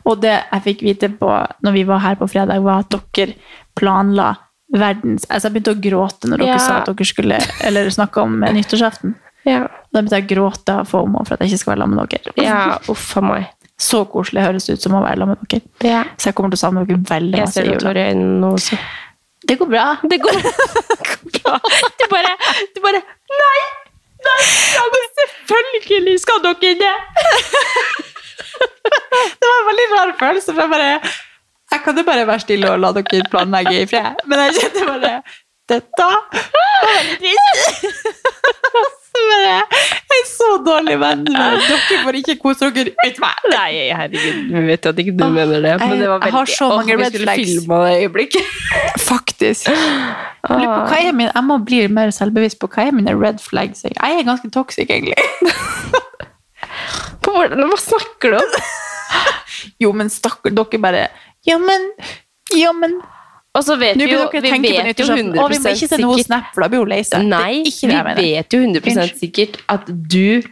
Og det jeg fikk vite på når vi var her på fredag, var at dere planla verdens Altså, jeg begynte å gråte når dere
Ja.
sa at dere skulle Eller snakka om eh, nyttårsaften.
Ja,
Da begynte jeg å gråte av FOMO for at jeg ikke skal være sammen med dere.
ja uff a meg.
Så koselig høres det ut som å være sammen med dere.
Ja.
Så jeg kommer til å savne dere veldig
Jeg
masse
ser
i
noe
jula.
tårer i øynene nå også.
Det går bra.
Det går [laughs] Du bare, du bare Nei! Nei! Ja, men selvfølgelig skal dere det!
Det var en veldig rar følelse, for jeg bare Jeg kan jo bare være stille og la dere planlegge i fred. Men jeg kjente bare Dette var veldig trist. Så bare Jeg er så dårlig venn. men Dere får ikke kose dere ut meg.
Nei, herregud, vi vet jo at ikke du mener det. Men
jeg-
det var
jeg
veldig
har så
Åh,
mange
vi
red
skulle
flags.
filme det øyeblikket. [laughs]
Faktisk. Jeg, [gasps] lurer på, hva er min, jeg må bli mer selvbevisst på hva er mine red flags. Jeg er ganske toxic, egentlig. [laughs]
På hvordan, hva snakker du om?
Jo, men stakkar, dere bare Ja, men Ja, men
Og så vet
Nå
vi jo,
begynner dere å
vi
tenke på
vet jo
nyttårsaften.
100
Å, vi må ikke sende noe
sikkert
snap, for da blir hun lei seg. Det er
Nei,
ikke
vi
det jeg mener.
vet jo 100
Unnskyld.
sikkert at du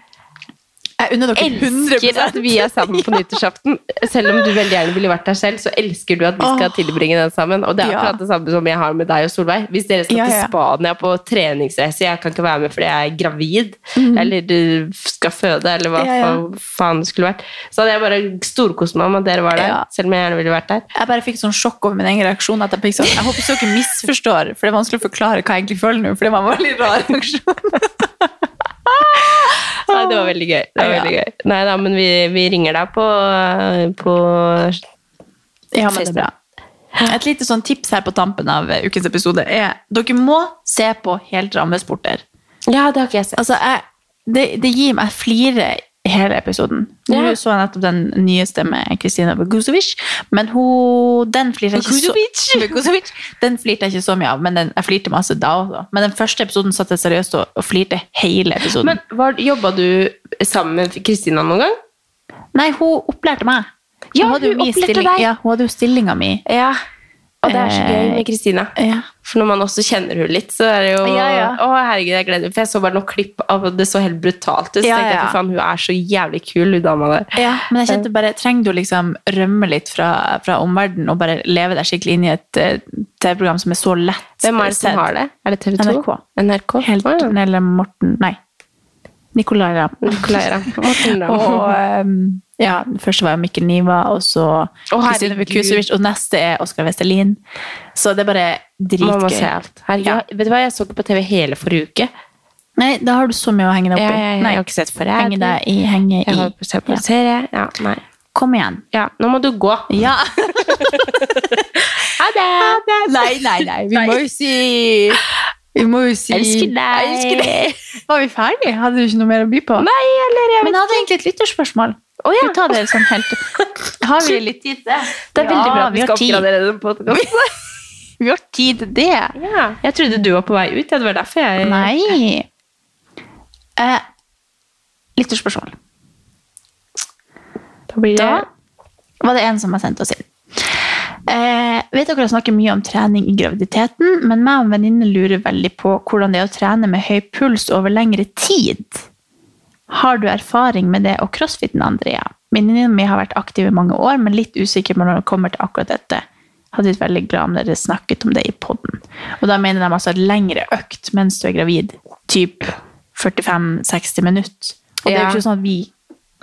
Jeg unner dere 100
elsker at vi er sammen
[laughs]
på nyttårsaften. Selv om du veldig gjerne ville vært der selv, så elsker du at vi skal
Åh.
tilbringe den sammen. Og det er
Ja.
akkurat det samme som jeg har med deg og Solveig. Hvis dere skal
Ja,
til
ja.
Spania på treningsreise, jeg kan ikke være med fordi jeg er gravid, eller du skal føde, eller hva
Mhm. Ja, ja.
fa- faen det skulle vært, så hadde jeg bare storkost meg med at dere var der,
Ja.
selv om jeg gjerne ville vært der.
Jeg bare fikk sånn sjokk over min egen reaksjon. At jeg, fikk sånn, jeg håper så dere misforstår, for det er vanskelig å forklare hva jeg egentlig føler nå. For det var en veldig rar reaksjon.
[laughs] Nei, det var veldig gøy. Det var
Ja.
veldig gøy. Nei da, men vi, vi ringer deg på, på
Ja, men det er bra. Et lite sånn tips her på tampen av eh, ukens episode er dere må se på helrammesporter.
Ja, det har ikke jeg sett.
Altså, jeg, det, det gir meg flire i hele episoden. Nå
Ja.
så jeg nettopp den nyeste med Kristina Bogusovic, men hun, den flirte jeg ikke så [laughs] Bogusovic. Den flirte jeg ikke så mye av, men den, jeg flirte masse da også. Men den første episoden satt jeg seriøst og, og flirte hele episoden.
Men var, jobba du sammen med Kristina noen gang?
Nei, hun opplærte meg. Hun
Ja,
hadde jo
hun
min
opplærte
stilling-
deg.
Ja, hun hadde jo stillinga mi.
Ja. Og det er så gøy
Eh,
med Kristina.
ja.
For når man også kjenner hun litt, så er det jo
Ja, ja.
Å, herregud, jeg gleder meg. For jeg så bare noen klipp av og det så helt brutalt ut. Så
Ja,
tenkte jeg,
ja.
fy faen, hun er så jævlig kul, hun dama der.
Ja, men jeg kjente bare, trenger du liksom rømme litt fra, fra omverdenen og bare leve deg skikkelig inn i et eh, TV-program som er så lett
Hvem er det som
sett?
har det? Er det TV 2?
NRK.
NRK?
Helt
Å, ja.
Pernille Morten Nei. Nicolai Ramm.
Nicolai Ramm. Morten Ramm.
[laughs] og ehm, ja, den første var jo Mikkel Niva, og så Kristine
herregud.
Bukusevic, og neste er Oskar Vestelin. Så det er bare
Man må
dritgøy.
se alt. Herregud,
Ja.
Vet du hva, jeg så ikke på TV hele forrige uke.
Nei, da har du så mye å henge deg opp i.
Ja, ja, ja,
Nei,
jeg har ikke sett Forræder.
Henge deg i, henge
Jeg har
i.
sett på
Ja.
en serie. Ja, nei.
Kom igjen.
Ja, nå må du gå.
Ja.
Ha det!
[laughs] Nei, nei, nei. Vi må jo si Vi må jo si
Elsker deg.
Jeg elsker [laughs] deg. Var vi ferdige? Hadde du ikke noe mer å by på?
Nei, eller jeg
Men jeg hadde egentlig et lytterspørsmål. Oh, ja. Vi tar det sånn helt [laughs] Har vi litt tid til det?
Det er veldig bra at vi skal
tid.
oppgradere den podkasten.
Vi har tid til det.
Ja, jeg trodde du var på vei ut. ja, Det var derfor jeg
Nei. Eh, lytterspørsmål.
Da blir det
Da var det en som har sendt oss inn. Eh, vet dere jeg snakker mye om trening i graviditeten, men meg og en venninne lurer veldig på hvordan det er å trene med høy puls over lengre tid. Har du erfaring med det og crossfiten, Andrea? Venninnen min har vært aktiv i mange år, men litt usikker på når det kommer til akkurat dette. Hadde vært veldig glad om dere snakket om det i podden. Og da mener de altså lengre økt mens du er gravid. Typ 45-60 minutter. Og det er
Ja.
jo ikke sånn at vi,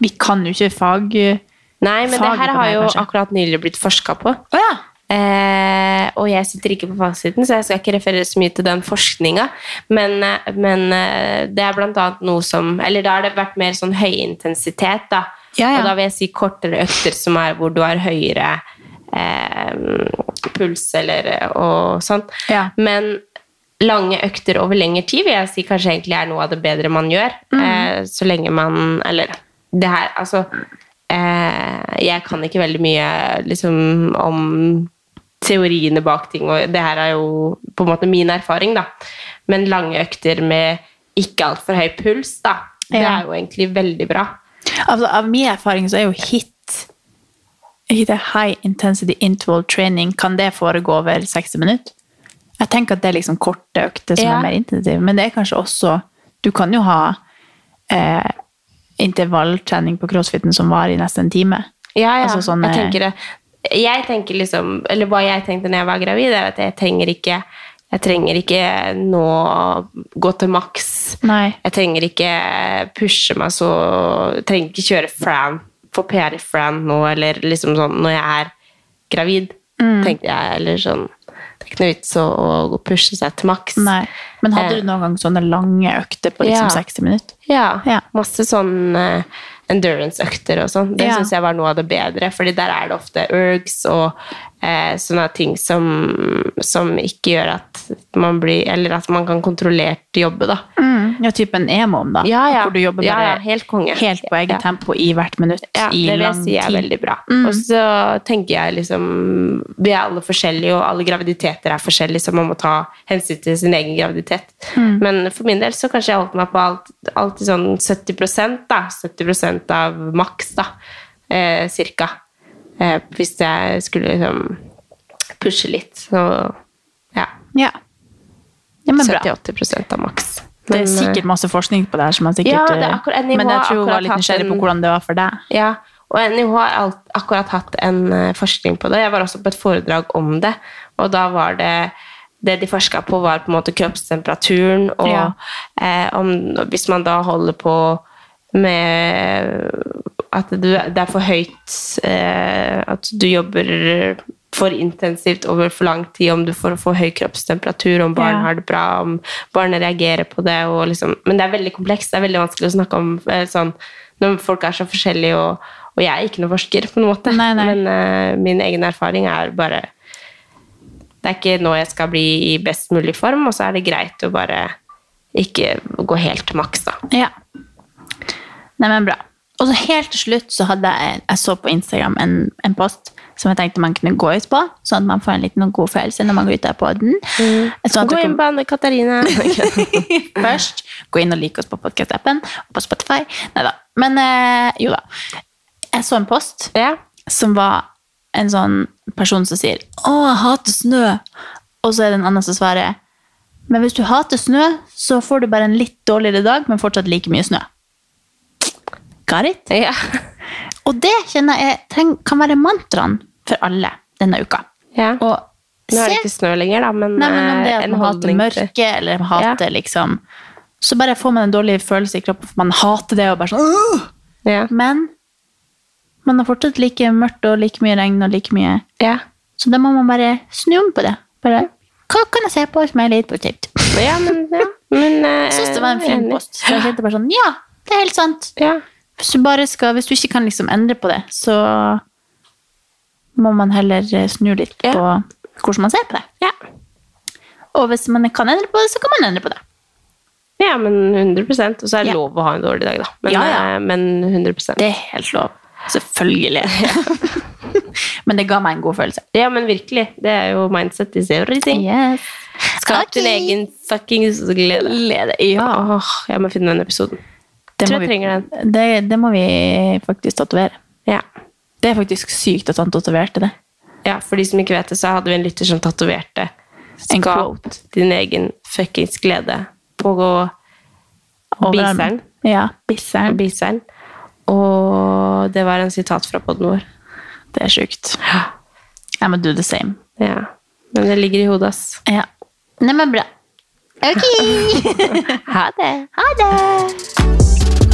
vi kan jo ikke fag... eh,
Nei, men det her har jo akkurat nylig blitt forska på. Eh, og jeg sitter ikke på fasiten, så jeg skal ikke referere så mye til den forskninga. Men, eh, men eh, det er blant annet noe som Eller da har det vært mer sånn høyintensitet, da. Og da vil jeg si kortere økter som er hvor du har høyere eh, puls eller og sånn. Men lange økter over lengre tid vil jeg si kanskje egentlig er noe av det bedre man gjør. Eh, så lenge man Eller det her, altså eh, Jeg kan ikke veldig mye liksom om teoriene bak ting, og det her er jo på en måte min erfaring, da. Men lange økter med ikke altfor høy puls, da. Det
Ja.
er jo egentlig veldig bra.
Altså, av min erfaring så er jo hit hit er high intensity interval training. Kan det foregå over 60 minutter? Jeg tenker at det er liksom korte økter som
Ja.
er mer intensive. Men det er kanskje også Du kan jo ha eh, intervalltrening på crossfiten som varer i nesten en time.
Ja, ja.
Altså sånne-
jeg tenker det. Jeg tenker liksom, eller hva jeg tenkte når jeg var gravid, er at jeg trenger ikke jeg trenger ikke nå gå til maks. Jeg trenger ikke pushe meg så Jeg trenger ikke kjøre Fran, få PR i Fran nå, eller liksom sånn når jeg er gravid.
Mm.
Tenkte jeg, eller sånn Det er ikke noe vits å å pushe seg til maks.
Nei. Men hadde
Eh.
du noen gang sånne lange økter på liksom
Ja.
60 minutter?
Ja. Masse sånn eh, endurance-økter og sånn. Det
Ja.
synes syns jeg var noe av det bedre, fordi der er det ofte ergs og eh, sånne ting som, som ikke gjør at man blir Eller at man kan kontrollert jobbe, da.
Ja, typen EMOM, da.
Mm. Ja, ja.
Hvor du jobber
Ja,
bare
ja, helt konge.
helt på eget
Ja.
tempo i hvert minutt
Ja,
i
det vil jeg
lang
si er
tid. Mm.
veldig bra. Og så tenker jeg liksom Vi er alle forskjellige, og alle graviditeter er forskjellige, så man må ta hensyn til sin egen graviditet.
Mm.
Men for min del så kanskje jeg holdt meg på alt, alltid sånn 70 da. 70 av maks, da. Eh, cirka. Eh, hvis jeg skulle liksom pushe litt, så ja.
Ja. Ja, men bra.
70-80 av maks.
Det er
Men, eh,
sikkert masse forskning på det her som er sikkert
Ja, det er
eh,
akkurat- NIH
Men jeg tror hun
akkurat
var litt
hatt
nysgjerrig på
en-
hvordan det var for deg.
Ja, og NIH har alt, akkurat hatt en eh, forskning på det. Jeg var også på et foredrag om det, og da var det det de forska på, var på en måte kroppstemperaturen, og
Ja.
eh, om, hvis man da holder på med at du, det er for høyt eh, At du jobber for intensivt over for lang tid, om du får for høy kroppstemperatur, om barn
Ja.
har det bra, om barnet reagerer på det. Og liksom, men det er veldig komplekst. Det er veldig vanskelig å snakke om eh, sånn, når folk er så forskjellige, og, og jeg er ikke noen forsker, på en måte. [laughs] Men eh, min egen erfaring er bare Det er ikke nå jeg skal bli i best mulig form, og så er det greit å bare ikke gå helt til maks, da.
Ja. Nei, men bra. Og så helt til slutt så hadde jeg, jeg så på Instagram en, en post som jeg tenkte man kunne gå ut på, sånn at man får en liten god følelse når man går ut av podden. Sånn
Mm.
at
Gå
du
inn
kan
på Anne
[laughs]
Katarina.
først gå inn og like oss på podcast-appen og på Spotify. Neida. Men eh, jo da. Jeg så en post som var en sånn person som sier «Å, jeg hater snø!» Og så er det en annen som svarer «Men hvis du hater snø, så får du bare en litt dårligere dag, men fortsatt like mye snø.» Got it? Og det kjenner jeg treng, kan være mantraen for alle denne uka. Og
Nå er
se-
det ikke snø lenger, da, men,
Nei, men om det
eh,
at
en
man hater
holdning til-
mørke, eller hater liksom Så bare får man en dårlig følelse i kroppen, for man hater det og bare sånn «Åh!» Men man har fortsatt like mørkt og like mye regn og like mye Så da må man bare snu om på det. Bare Hva kan jeg se på som er litt positivt? [laughs]
Ja, men, ja. men eh,
Jeg syns det var en fin
enig.
post. Så jeg kjente bare sånn Ja, det er helt sant. Hvis du bare skal Hvis du ikke kan liksom endre på det, så må man heller eh, snu litt på hvordan man ser på det. Og hvis man kan endre på det, så kan man endre på det.
Ja, men 100 Og så er det lov å ha en dårlig dag, da. Men,
Ja, ja.
eh, men 100
Det er helt lov. Selvfølgelig. [laughs] men det ga meg en god følelse.
Ja, men virkelig. Det er jo mindset is everything. Skap din egen fuckings glede.
ja.
Åh, jeg må finne den episoden.
Det
Tror
må
jeg
vi-
trenger den.
Det, det må vi faktisk tatovere.
Ja.
Det er faktisk sykt at han tatoverte det.
Ja, For de som ikke vet det, så hadde vi en lytter som tatoverte
En
Skap din egen fuckings glede på
Overarmen.
biseren.
Ja, biseren.
biseren. Og det var en sitat fra podden vår.
Det er sjukt. I må do the same.
Ja. Men det ligger i hodet, ass.
Ja. Nei, men bra. Ok! ha det. Ha det.